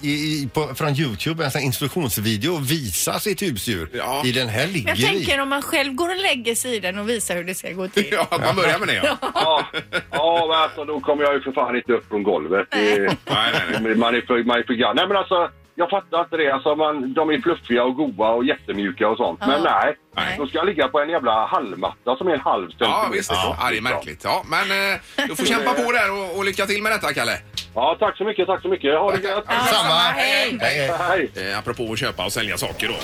Speaker 2: i, i, på, från Youtube, en sån här instruktionsvideo och visa sitt husdjur.
Speaker 1: Ja.
Speaker 2: I den här ligger
Speaker 3: Jag tänker
Speaker 2: i.
Speaker 3: om man själv går och lägger sig i den och visar hur det ska gå till.
Speaker 1: Ja, att man börjar med det ja.
Speaker 6: ja, ja men alltså då kommer jag ju för fan inte upp från golvet. Det,
Speaker 1: Nej, nej, nej.
Speaker 6: Man är för, man är för gammal. Nej men alltså, jag fattar inte det. Alltså man, de är fluffiga och goa och jättemjuka och sånt. Men nej,
Speaker 1: Nej.
Speaker 6: de ska ligga på en jävla halmmatta som är en halv
Speaker 1: Ja,
Speaker 6: centimeter.
Speaker 1: visst. Ja. det är märkligt. Ja, men eh, du får kämpa på där och, och lycka till med detta, Kalle.
Speaker 6: Ja, tack så mycket, tack så mycket. Ha det gött!
Speaker 2: Samma.
Speaker 3: hej.
Speaker 2: Hej, hej.
Speaker 6: Hej!
Speaker 1: Eh, apropå att köpa och sälja saker då.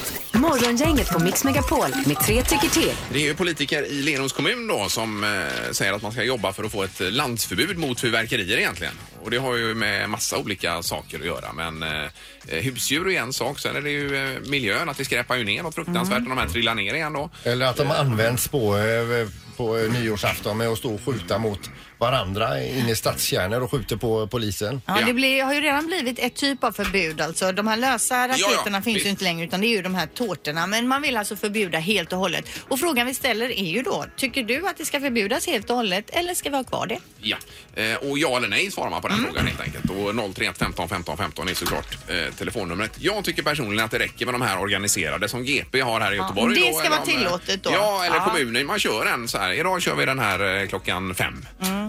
Speaker 4: Morgongänget på Mix Megapol med tre tycker till.
Speaker 1: Det är ju politiker i Lerums kommun då som eh, säger att man ska jobba för att få ett eh, landsförbud mot fyrverkerier egentligen. Och det har ju med massa olika saker att göra. Men eh, eh, husdjur är en sak, sen är det ju eh, miljön, att det skräpar ju ner något fruktansvärt när de här trillar ner igen då.
Speaker 2: Eller att de används på, eh, på eh, nyårsafton med att stå och skjuta mot varandra inne i stadskärnor och skjuter på polisen.
Speaker 3: Ja,
Speaker 1: Ja.
Speaker 3: det blir, har ju redan blivit ett typ av förbud alltså. De här lösa
Speaker 1: ja,
Speaker 3: raketerna finns
Speaker 1: visst.
Speaker 3: ju inte längre utan det är ju de här tårtorna. Men man vill alltså förbjuda helt och hållet. Och frågan vi ställer är ju då, tycker du att det ska förbjudas helt och hållet eller ska vi ha kvar det?
Speaker 1: Ja. Eh, och ja eller nej svarar man på den
Speaker 3: Mm.
Speaker 1: frågan helt enkelt. Och 031 15 15 15 är såklart eh, telefonnumret. Jag tycker personligen att det räcker med de här organiserade som GP har här i Göteborg.
Speaker 3: det
Speaker 1: då,
Speaker 3: ska
Speaker 1: eller
Speaker 3: vara
Speaker 1: om, eh,
Speaker 3: tillåtet då.
Speaker 1: Ja, eller
Speaker 3: Ja.
Speaker 1: kommunen. Man kör en så här. Idag kör vi den här eh, klockan fem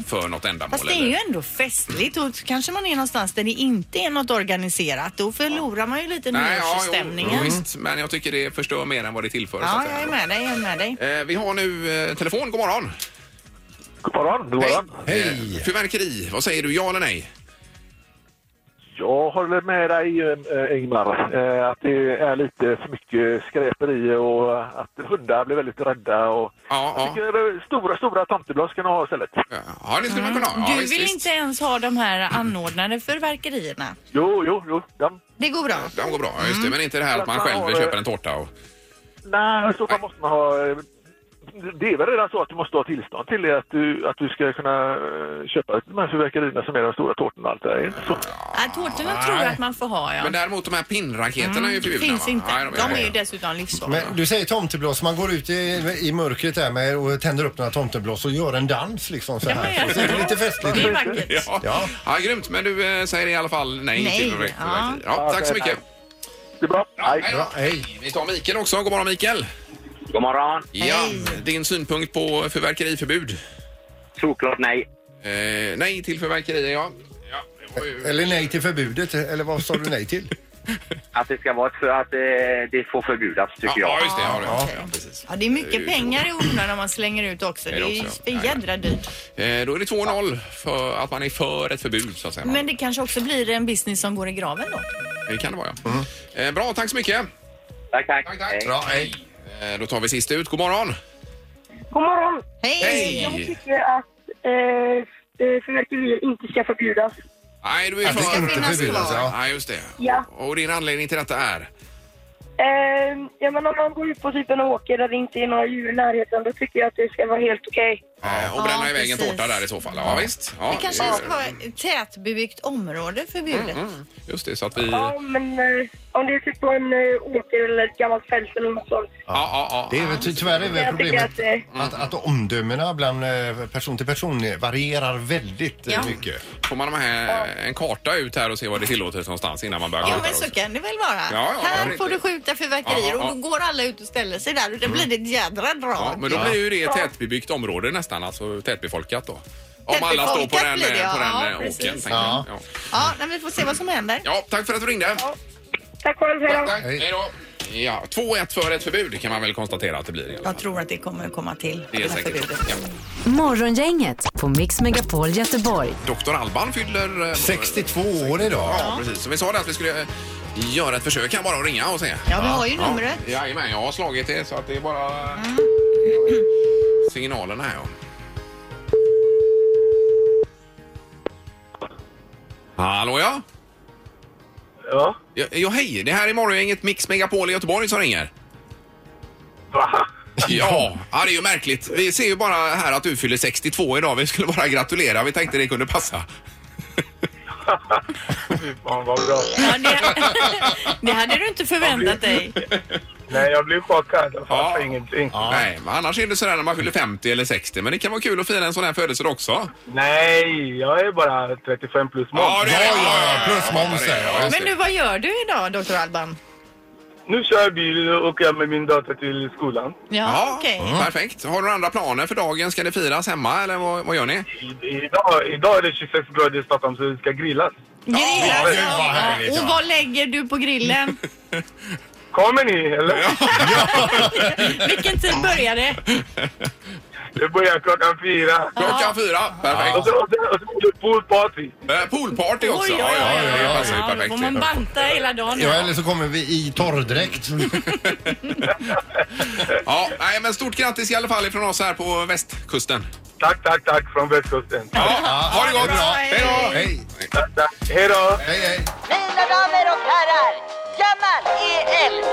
Speaker 1: för något ändamål.
Speaker 3: Mm. Fast det är
Speaker 1: eller-
Speaker 3: ju ändå festligt och kanske man är någonstans där det inte är något organiserat. Då förlorar man ju lite
Speaker 1: ja, jo,
Speaker 3: nyårsstämningen.
Speaker 1: jo, visst, men jag tycker det förstör mer än vad det tillför. så
Speaker 3: Ja,
Speaker 1: att säga.
Speaker 3: jag är med dig, jag är med dig.
Speaker 1: Eh, vi har nu eh, telefon. God morgon!
Speaker 6: God morgon, god morgon.
Speaker 2: Hej!
Speaker 1: Eh, fyrverkeri, vad säger du? Ja eller nej?
Speaker 6: Jag håller med dig eh, Ingmar, eh, att det är lite för mycket skräperi och att hundar blir väldigt rädda. Och
Speaker 1: Ja,
Speaker 6: jag
Speaker 1: ja.
Speaker 6: tycker eh, stora, stora tomteblad ska ni ha istället.
Speaker 1: Ja, det skulle man kunna ha. Ja,
Speaker 3: du
Speaker 1: visst,
Speaker 3: vill
Speaker 1: visst.
Speaker 3: inte ens ha de här anordnade förverkerierna.
Speaker 6: Jo, jo, jo. Ja.
Speaker 3: Det går bra.
Speaker 1: De går bra, ja,
Speaker 3: Mm.
Speaker 1: just det. Men inte det här att man själv vill köpa en tårta och...
Speaker 6: Nej, i så fall måste man ha... eh, Det är väl redan så att du måste ha tillstånd till det, att du, att du ska kunna eh, köpa de här fyrverkerierna som är de stora tårtorna och allt det där. Är det inte så?
Speaker 3: Ja, Äh, tårtorna tror jag att man får ha, ja. Mm.
Speaker 1: Men däremot de här pinnraketerna är ju förbjudna.
Speaker 3: Finns
Speaker 1: va?
Speaker 3: inte.
Speaker 1: Nej,
Speaker 3: de är ju dessutom livsfarliga.
Speaker 2: Men du säger tomteblås, man går ut i, i mörkret där med, och tänder upp några tomteblås och gör en dans liksom så
Speaker 3: Ja, men
Speaker 2: här.
Speaker 3: jag-
Speaker 2: Så det är lite festligt.
Speaker 3: Det är vackert.
Speaker 1: Ja. Ja.
Speaker 2: Ja.
Speaker 1: grymt. Men du eh, säger i alla fall nej,
Speaker 3: Nej,
Speaker 1: till fyrverkeri.
Speaker 3: ja.
Speaker 1: Ja, tack så mycket.
Speaker 6: Det är bra.
Speaker 1: Hej
Speaker 2: Bra,
Speaker 1: då.
Speaker 2: hej.
Speaker 1: Vi tar Mikael också. God morgon Mikael!
Speaker 9: God morgon.
Speaker 1: Ja, din synpunkt på fyrverkeriförbud?
Speaker 9: Såklart nej.
Speaker 1: Eh, nej till fyrverkerier, ja. ja det var ju...
Speaker 2: Eller nej till förbudet, eller vad sa du nej till?
Speaker 9: Att det ska vara ett för att eh, det får förbjudas tycker
Speaker 1: ja,
Speaker 9: jag.
Speaker 1: just det. Ja, det.
Speaker 3: okej.
Speaker 1: Ja, precis.
Speaker 3: Ja, det är mycket pengar i onödan om man slänger ut också. Det är ju
Speaker 1: också,
Speaker 3: för
Speaker 1: ja.
Speaker 3: jädra dyrt.
Speaker 1: Eh, då är det 2-0 för att man är för ett förbud, så att säga.
Speaker 3: Men det kanske också blir en business som går i graven då.
Speaker 1: Det kan det vara, ja. Eh, bra, tack så mycket.
Speaker 9: Tack, tack.
Speaker 1: Tack, tack.
Speaker 9: Hej.
Speaker 2: Bra, hej.
Speaker 1: Eh, då tar vi sist ut. God morgon!
Speaker 8: God morgon!
Speaker 3: Hej!
Speaker 8: Jag
Speaker 1: Hej!
Speaker 8: tycker att eh, eh, fyrverkerier inte ska förbjudas.
Speaker 1: Nej, du är
Speaker 2: Att det
Speaker 1: för...
Speaker 2: inte
Speaker 3: finnas
Speaker 2: förbjudas,
Speaker 3: kvar.
Speaker 2: ja.
Speaker 1: Ja, just det.
Speaker 8: Ja.
Speaker 1: Och, och din anledning till detta är?
Speaker 8: Eh, jag menar, om man går ut på typ en åker där det inte är några djur i närheten, då tycker jag att det ska vara helt okej.
Speaker 1: Eh, och bränna
Speaker 3: Ja,
Speaker 1: iväg en
Speaker 3: precis.
Speaker 1: tårta där i så fall. Ja, visst. Ja, Mm.
Speaker 3: Det kanske
Speaker 1: ju-
Speaker 3: ska vara ett tätbebyggt område förbjudet.
Speaker 1: Just det, så att vi... Ja,
Speaker 8: Ja, men eh, om det är typ på en eh, åker eller ett gammalt fält eller något sånt.
Speaker 1: ja, ja.
Speaker 2: Det är väl ty- tyvärr är väl
Speaker 8: Jag tycker
Speaker 2: problemet
Speaker 8: att, eh,
Speaker 2: att, att omdömena bland eh, person till person varierar väldigt eh,
Speaker 3: Ja.
Speaker 2: mycket.
Speaker 1: Får man ha med en karta ut här och se vad det tillåter någonstans innan man börjar
Speaker 3: Jo
Speaker 1: skjuta
Speaker 3: men
Speaker 1: då?
Speaker 3: så kan det väl vara.
Speaker 1: ja, ja,
Speaker 3: här
Speaker 1: riktigt.
Speaker 3: får du skjuta fyrverkerier
Speaker 1: Ja, ja.
Speaker 3: och då går alla ut och ställer sig där och det blir ett jädra drag.
Speaker 1: Ja, men då blir ju det ett tätbebyggt område nästan, alltså tätbefolkat då. Om alla står på
Speaker 3: Tätbefolkat
Speaker 1: den,
Speaker 3: blir det,
Speaker 1: eh, på
Speaker 3: ja.
Speaker 1: den
Speaker 3: Ja,
Speaker 1: ja, åkern.
Speaker 3: precis.
Speaker 1: tänker jag.
Speaker 2: Ja.
Speaker 1: Ja.
Speaker 3: Ja, men vi får se vad som händer.
Speaker 1: ja, tack för att du ringde.
Speaker 8: tack själv, hej då.
Speaker 1: Tack. Hej då. Ja, 2-1 för ett förbud kan man väl konstatera att det blir. i alla fall.
Speaker 3: Jag tror att det kommer att komma till.
Speaker 1: Det är säkert.
Speaker 3: förbudet.
Speaker 1: Ja.
Speaker 4: Morgongänget på Mix Megapol Göteborg.
Speaker 1: Dr. Alban fyller... eh,
Speaker 2: 62 år idag.
Speaker 1: Ja, precis. Så vi sa det att vi skulle eh, göra ett försök här bara och ringa och se.
Speaker 3: Ja, vi har ju numret.
Speaker 1: Ja, jajamän, jag har slagit det så att det är bara signalerna här. Ja. Hallå ja?
Speaker 6: Ja.
Speaker 1: ja? Ja hej, det här är morgongänget Mix Megapol i Göteborg som ringer.
Speaker 6: Va?
Speaker 1: Ja, ja, det är ju märkligt. Vi ser ju bara här att du fyller 62 idag. Vi skulle bara gratulera. Vi tänkte det kunde passa.
Speaker 6: Fy fan vad bra.
Speaker 3: Ja, det, det hade du inte förväntat dig.
Speaker 6: Nej, jag blev chockad. Jag
Speaker 1: fattar
Speaker 6: ingenting.
Speaker 1: Nej, men annars är det sådär när man fyller 50 eller 60. Men det kan vara kul att fira en sån här födelsedag också.
Speaker 6: Nej, jag är bara 35 plus mål.
Speaker 1: det
Speaker 2: Ja, ja, ja, plus moms där, ja.
Speaker 1: just
Speaker 3: Men
Speaker 1: det.
Speaker 3: nu, vad gör du idag, Dr. Alban?
Speaker 6: Nu kör jag bil och åker med min dotter till skolan.
Speaker 3: Ja,
Speaker 1: Ja,
Speaker 3: okej.
Speaker 1: Perfekt. Har du några andra planer för dagen? Ska det firas hemma eller vad, vad gör ni?
Speaker 6: I, idag, idag är det 26 grader i Stockholm så det ska grillas.
Speaker 3: Grilla.
Speaker 2: gud vad härligt, ja.
Speaker 3: och vad lägger du på grillen?
Speaker 6: Kommer ni eller?
Speaker 3: Vilken tid börjar det?
Speaker 6: Det börjar klockan fyra.
Speaker 1: Klockan fyra,
Speaker 6: Och
Speaker 1: perfekt.
Speaker 6: så, och så, och så blir det poolparty.
Speaker 1: Eh, Poolparty också.
Speaker 3: Oj, oj,
Speaker 1: Ja, ja,
Speaker 3: oj,
Speaker 1: ja,
Speaker 2: oj,
Speaker 1: det
Speaker 2: oj.
Speaker 1: passar ju
Speaker 3: Ja, då får man
Speaker 1: perfekt.
Speaker 3: banta hela dagen.
Speaker 2: Ja, Mm. eller så kommer vi i torrdräkt.
Speaker 1: Ja, nej, men stort grattis i alla fall från oss här på västkusten.
Speaker 6: Tack, tack, tack från västkusten.
Speaker 1: Ja, ha det gott!
Speaker 3: bra.
Speaker 1: Hej då!
Speaker 2: Hej,
Speaker 6: Tack, tack. Hej då!
Speaker 2: hej, hej.
Speaker 10: Mina damer och herrar, Jamal EL.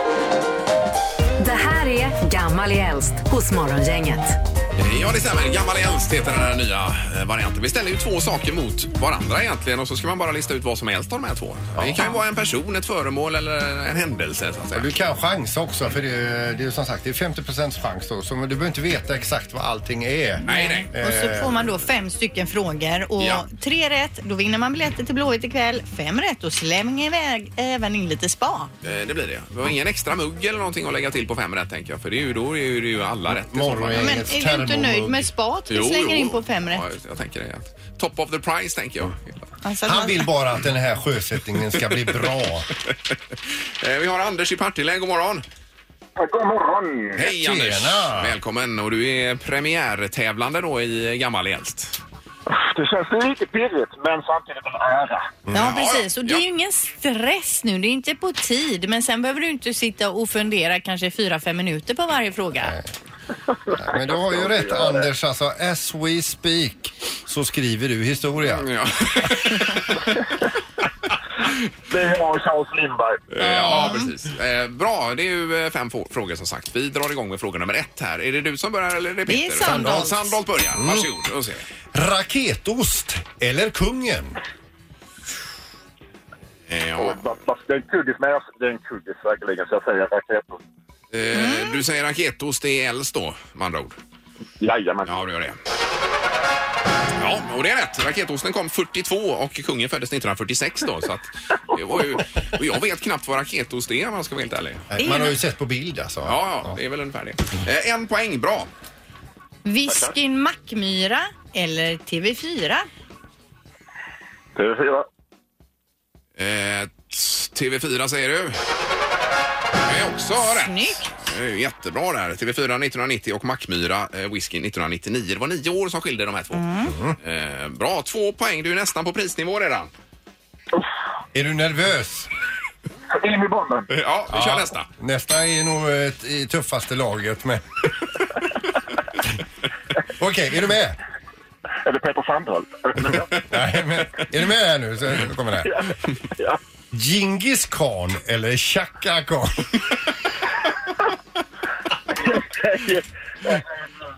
Speaker 4: Det här är Gammal i äldst hos Morgongänget.
Speaker 1: Eh, Ja, det stämmer. Gammal äldst heter den här nya eh, varianten. Vi ställer ju två saker mot varandra egentligen och så ska man bara lista ut vad som är äldst av de här två. Det kan ju vara en person, ett föremål eller en händelse så att säga.
Speaker 2: Du kan chansa också för det är, det är som sagt det är 50 chans då. Så du behöver inte veta exakt vad allting är.
Speaker 1: Nej, nej.
Speaker 3: Och så får man då fem stycken frågor och
Speaker 1: Ja.
Speaker 3: tre rätt, då vinner man biljetter till Blåvitt ikväll. Fem rätt, då slänger iväg även in lite spa.
Speaker 1: Eh, Det blir det. Det var ingen extra mugg eller någonting att lägga till på fem rätt tänker jag. För det är ju, då är ju- det är ju alla rätt. i så fall.
Speaker 2: Morgon är-
Speaker 3: Men
Speaker 2: Inget
Speaker 3: är du inte
Speaker 2: termomugg.
Speaker 3: nöjd med spat? Vi
Speaker 1: Jo,
Speaker 3: slänger
Speaker 1: jo.
Speaker 3: in på fem rätt.
Speaker 1: Ja, just det. jag tänker det. Top of the price tänker jag.
Speaker 3: Alltså att
Speaker 2: Han
Speaker 3: man-
Speaker 2: vill bara att den här sjösättningen ska bli bra.
Speaker 1: Eh, Vi har Anders i Partille. God morgon!
Speaker 9: God morgon!
Speaker 1: Hej
Speaker 2: Tjena.
Speaker 1: Anders! Välkommen! Och du är premiärtävlande då i Gammal i äldst.
Speaker 6: Det känns lite pirrigt, men samtidigt en ära.
Speaker 3: Ja, precis. Och det är
Speaker 1: Mm. Ja.
Speaker 3: ju ingen stress nu. Det är inte på tid. Men sen behöver du inte sitta och fundera kanske fyra fem minuter på varje fråga.
Speaker 2: Men du har ju rätt Anders, alltså as we speak så skriver du historia.
Speaker 1: Ja.
Speaker 6: Det är Charles Lindberg.
Speaker 1: Eh, ja, precis. Eh, Bra, det är ju eh, fem få- frågor som sagt. Vi drar igång med fråga nummer ett här. Är det du som börjar eller är det Peter?
Speaker 3: är Sandholt.
Speaker 1: Sandholt börjar. Varsågod. Då ser vi.
Speaker 2: Raketost eller kungen?
Speaker 1: Eh, Ja.
Speaker 6: Det är en kuggis, men jag- det är en kuggis verkligen, så jag säger raketer.
Speaker 1: Eh,
Speaker 3: Mm.
Speaker 1: Du säger raketost, det är äldst då med andra ord.
Speaker 6: Jajamän.
Speaker 1: Ja, du gör det. Ja, och det är rätt. Raketosten kom 42 och kungen föddes 1946 då. Så att det var ju, och jag vet knappt vad raketost är om man ska vara helt ärlig.
Speaker 2: Eh, Man har ju sett på bild alltså.
Speaker 1: Ja, ja, det är väl ungefär det. Eh, En poäng, bra.
Speaker 3: Viskin Mackmyra eller TV4?
Speaker 6: TV4.
Speaker 1: Eh, t- TV4 säger du. Det är också rätt.
Speaker 3: Snyggt!
Speaker 1: Det är ju Jättebra där. TV4 1990 och Mackmyra eh, Whisky 1999. Det var nio år som skilde de här två.
Speaker 3: Mm.
Speaker 1: Eh, bra, två poäng. Du är nästan på prisnivå redan.
Speaker 2: Är du nervös?
Speaker 6: In i bomben.
Speaker 1: Eh, Ja, vi kör nästa.
Speaker 2: Nästa är nog ett, i tuffaste laget med. Okej, är du med?
Speaker 6: Eller Peter Sandholt.
Speaker 2: Nej, men, är du med här nu? Så kommer det här.
Speaker 6: ja.
Speaker 2: Genghis khan eller Chaka khan?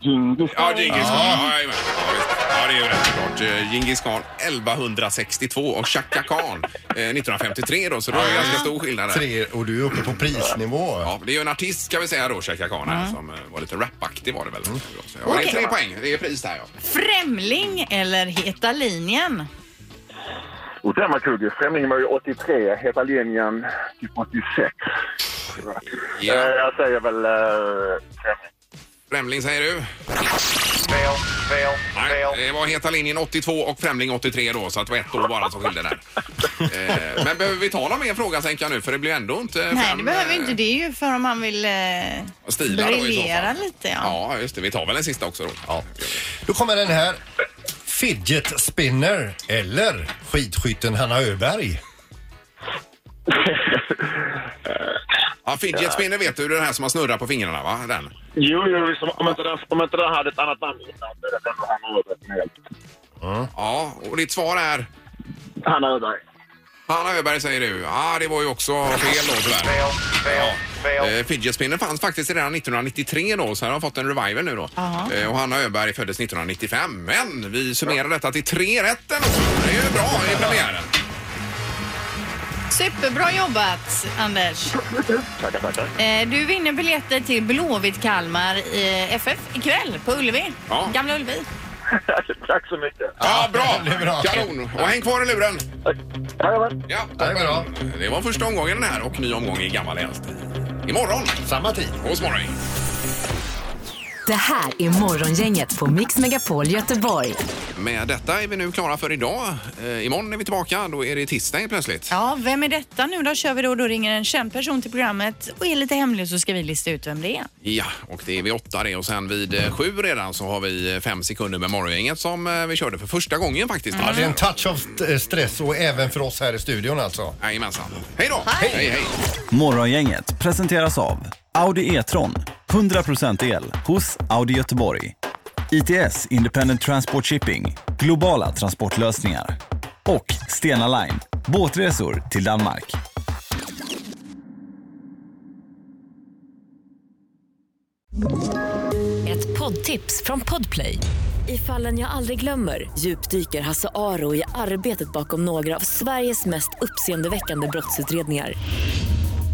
Speaker 6: Djingis.
Speaker 1: Ja, Djingis Khan. Ja. jajamän. Ja, visst. ja, det är ju rätt såklart. Eh, Djingis Khan 1162 och Chaka Khan eh, 1953 då, så det var ju ganska stor skillnad där.
Speaker 2: Tre, och du är uppe på prisnivå.
Speaker 1: Ja, det är ju en artist ska vi säga då, Chaka Khan här, som eh, var lite rapaktig var det väl. Ja, det är
Speaker 3: Mm. Okej.
Speaker 1: tre poäng, det är pris där ja.
Speaker 3: Främling eller Heta linjen?
Speaker 6: Och den var kuggis. Främlingen var ju 83, Heta linjen typ 86. Eh,
Speaker 1: ja.
Speaker 6: Jag säger väl... eh, Främling.
Speaker 1: Främling säger du?
Speaker 6: Fel, fel,
Speaker 1: Nej, det var Heta linjen 82 och Främling 83 då, så att det var ett år bara som skilde där. Eh, Men behöver vi ta någon mer fråga tänker jag nu, för det blir ändå inte
Speaker 3: Nej,
Speaker 1: fem,
Speaker 3: det behöver vi
Speaker 1: eh,
Speaker 3: inte. Det är ju för om man vill eh,
Speaker 1: stilar då i så
Speaker 3: briljera
Speaker 1: fall.
Speaker 3: lite. Ja.
Speaker 1: Ja, just det. Vi tar väl en sista också då.
Speaker 2: Ja. Då kommer den här. Fidget spinner eller skidskytten Hanna Öberg?
Speaker 1: Ja, fidget spinner vet du, det är den här som man snurrar på fingrarna va? Den.
Speaker 6: Jo, jo, som- om inte den- om inte den hade ett annat namn innan så är det den han har övat med hjälp.
Speaker 1: Ja, och ditt svar är?
Speaker 6: Han har övat.
Speaker 1: Hanna Öberg säger du. Ja, det var ju också fel då tyvärr.
Speaker 6: fel,
Speaker 1: Eh, Fidget spinner fanns faktiskt redan 1993 då, så här har fått en revival nu då.
Speaker 3: Ja.
Speaker 1: Eh, och Hanna Öberg föddes 1995. Men vi summerar detta till tre rätten också. Det är ju bra i premiären.
Speaker 3: Superbra jobbat, Anders.
Speaker 6: Tackar, tackar.
Speaker 3: Eh, Du vinner biljetter till Blåvitt Kalmar eh, FF ikväll på Ullevi.
Speaker 1: Ja.
Speaker 3: Gamla Ullevi.
Speaker 6: Tack så mycket.
Speaker 1: Ja, bra!
Speaker 2: det är bra.
Speaker 1: Kanon! Och häng kvar i luren.
Speaker 6: Jajamän.
Speaker 1: Ja,
Speaker 2: Det är bra.
Speaker 1: det var första omgången den här och ny omgång i gammal äldst. Imorgon
Speaker 2: Samma tid.
Speaker 1: hos Morgon.
Speaker 4: Det här är Morgongänget på Mix Megapol Göteborg.
Speaker 1: Med detta är vi nu klara för idag. Eh, imorgon är vi tillbaka. Då är det tisdag helt plötsligt.
Speaker 3: Ja, vem är detta nu då? Kör vi då. Då ringer en känd person till programmet och är lite hemlig så ska vi lista ut vem det är.
Speaker 1: Ja, och det är vid åtta det och sen vid eh, sju redan så har vi eh, fem sekunder med morgongänget som eh, vi körde för första gången faktiskt.
Speaker 2: Ja, det är en touch av st- eh, stress och även för oss här i studion alltså.
Speaker 1: Jajamensan. Hej då! hej! hej.
Speaker 11: Morgongänget presenteras av Audi E-tron. 100% el hos Audi Göteborg. ITS Independent Transport Shipping. Globala transportlösningar. Och Stena Line. Båtresor till Danmark.
Speaker 12: Ett poddtips från Podplay. I fallen jag aldrig glömmer djupdyker Hasse Aro i arbetet bakom några av Sveriges mest uppseendeväckande brottsutredningar.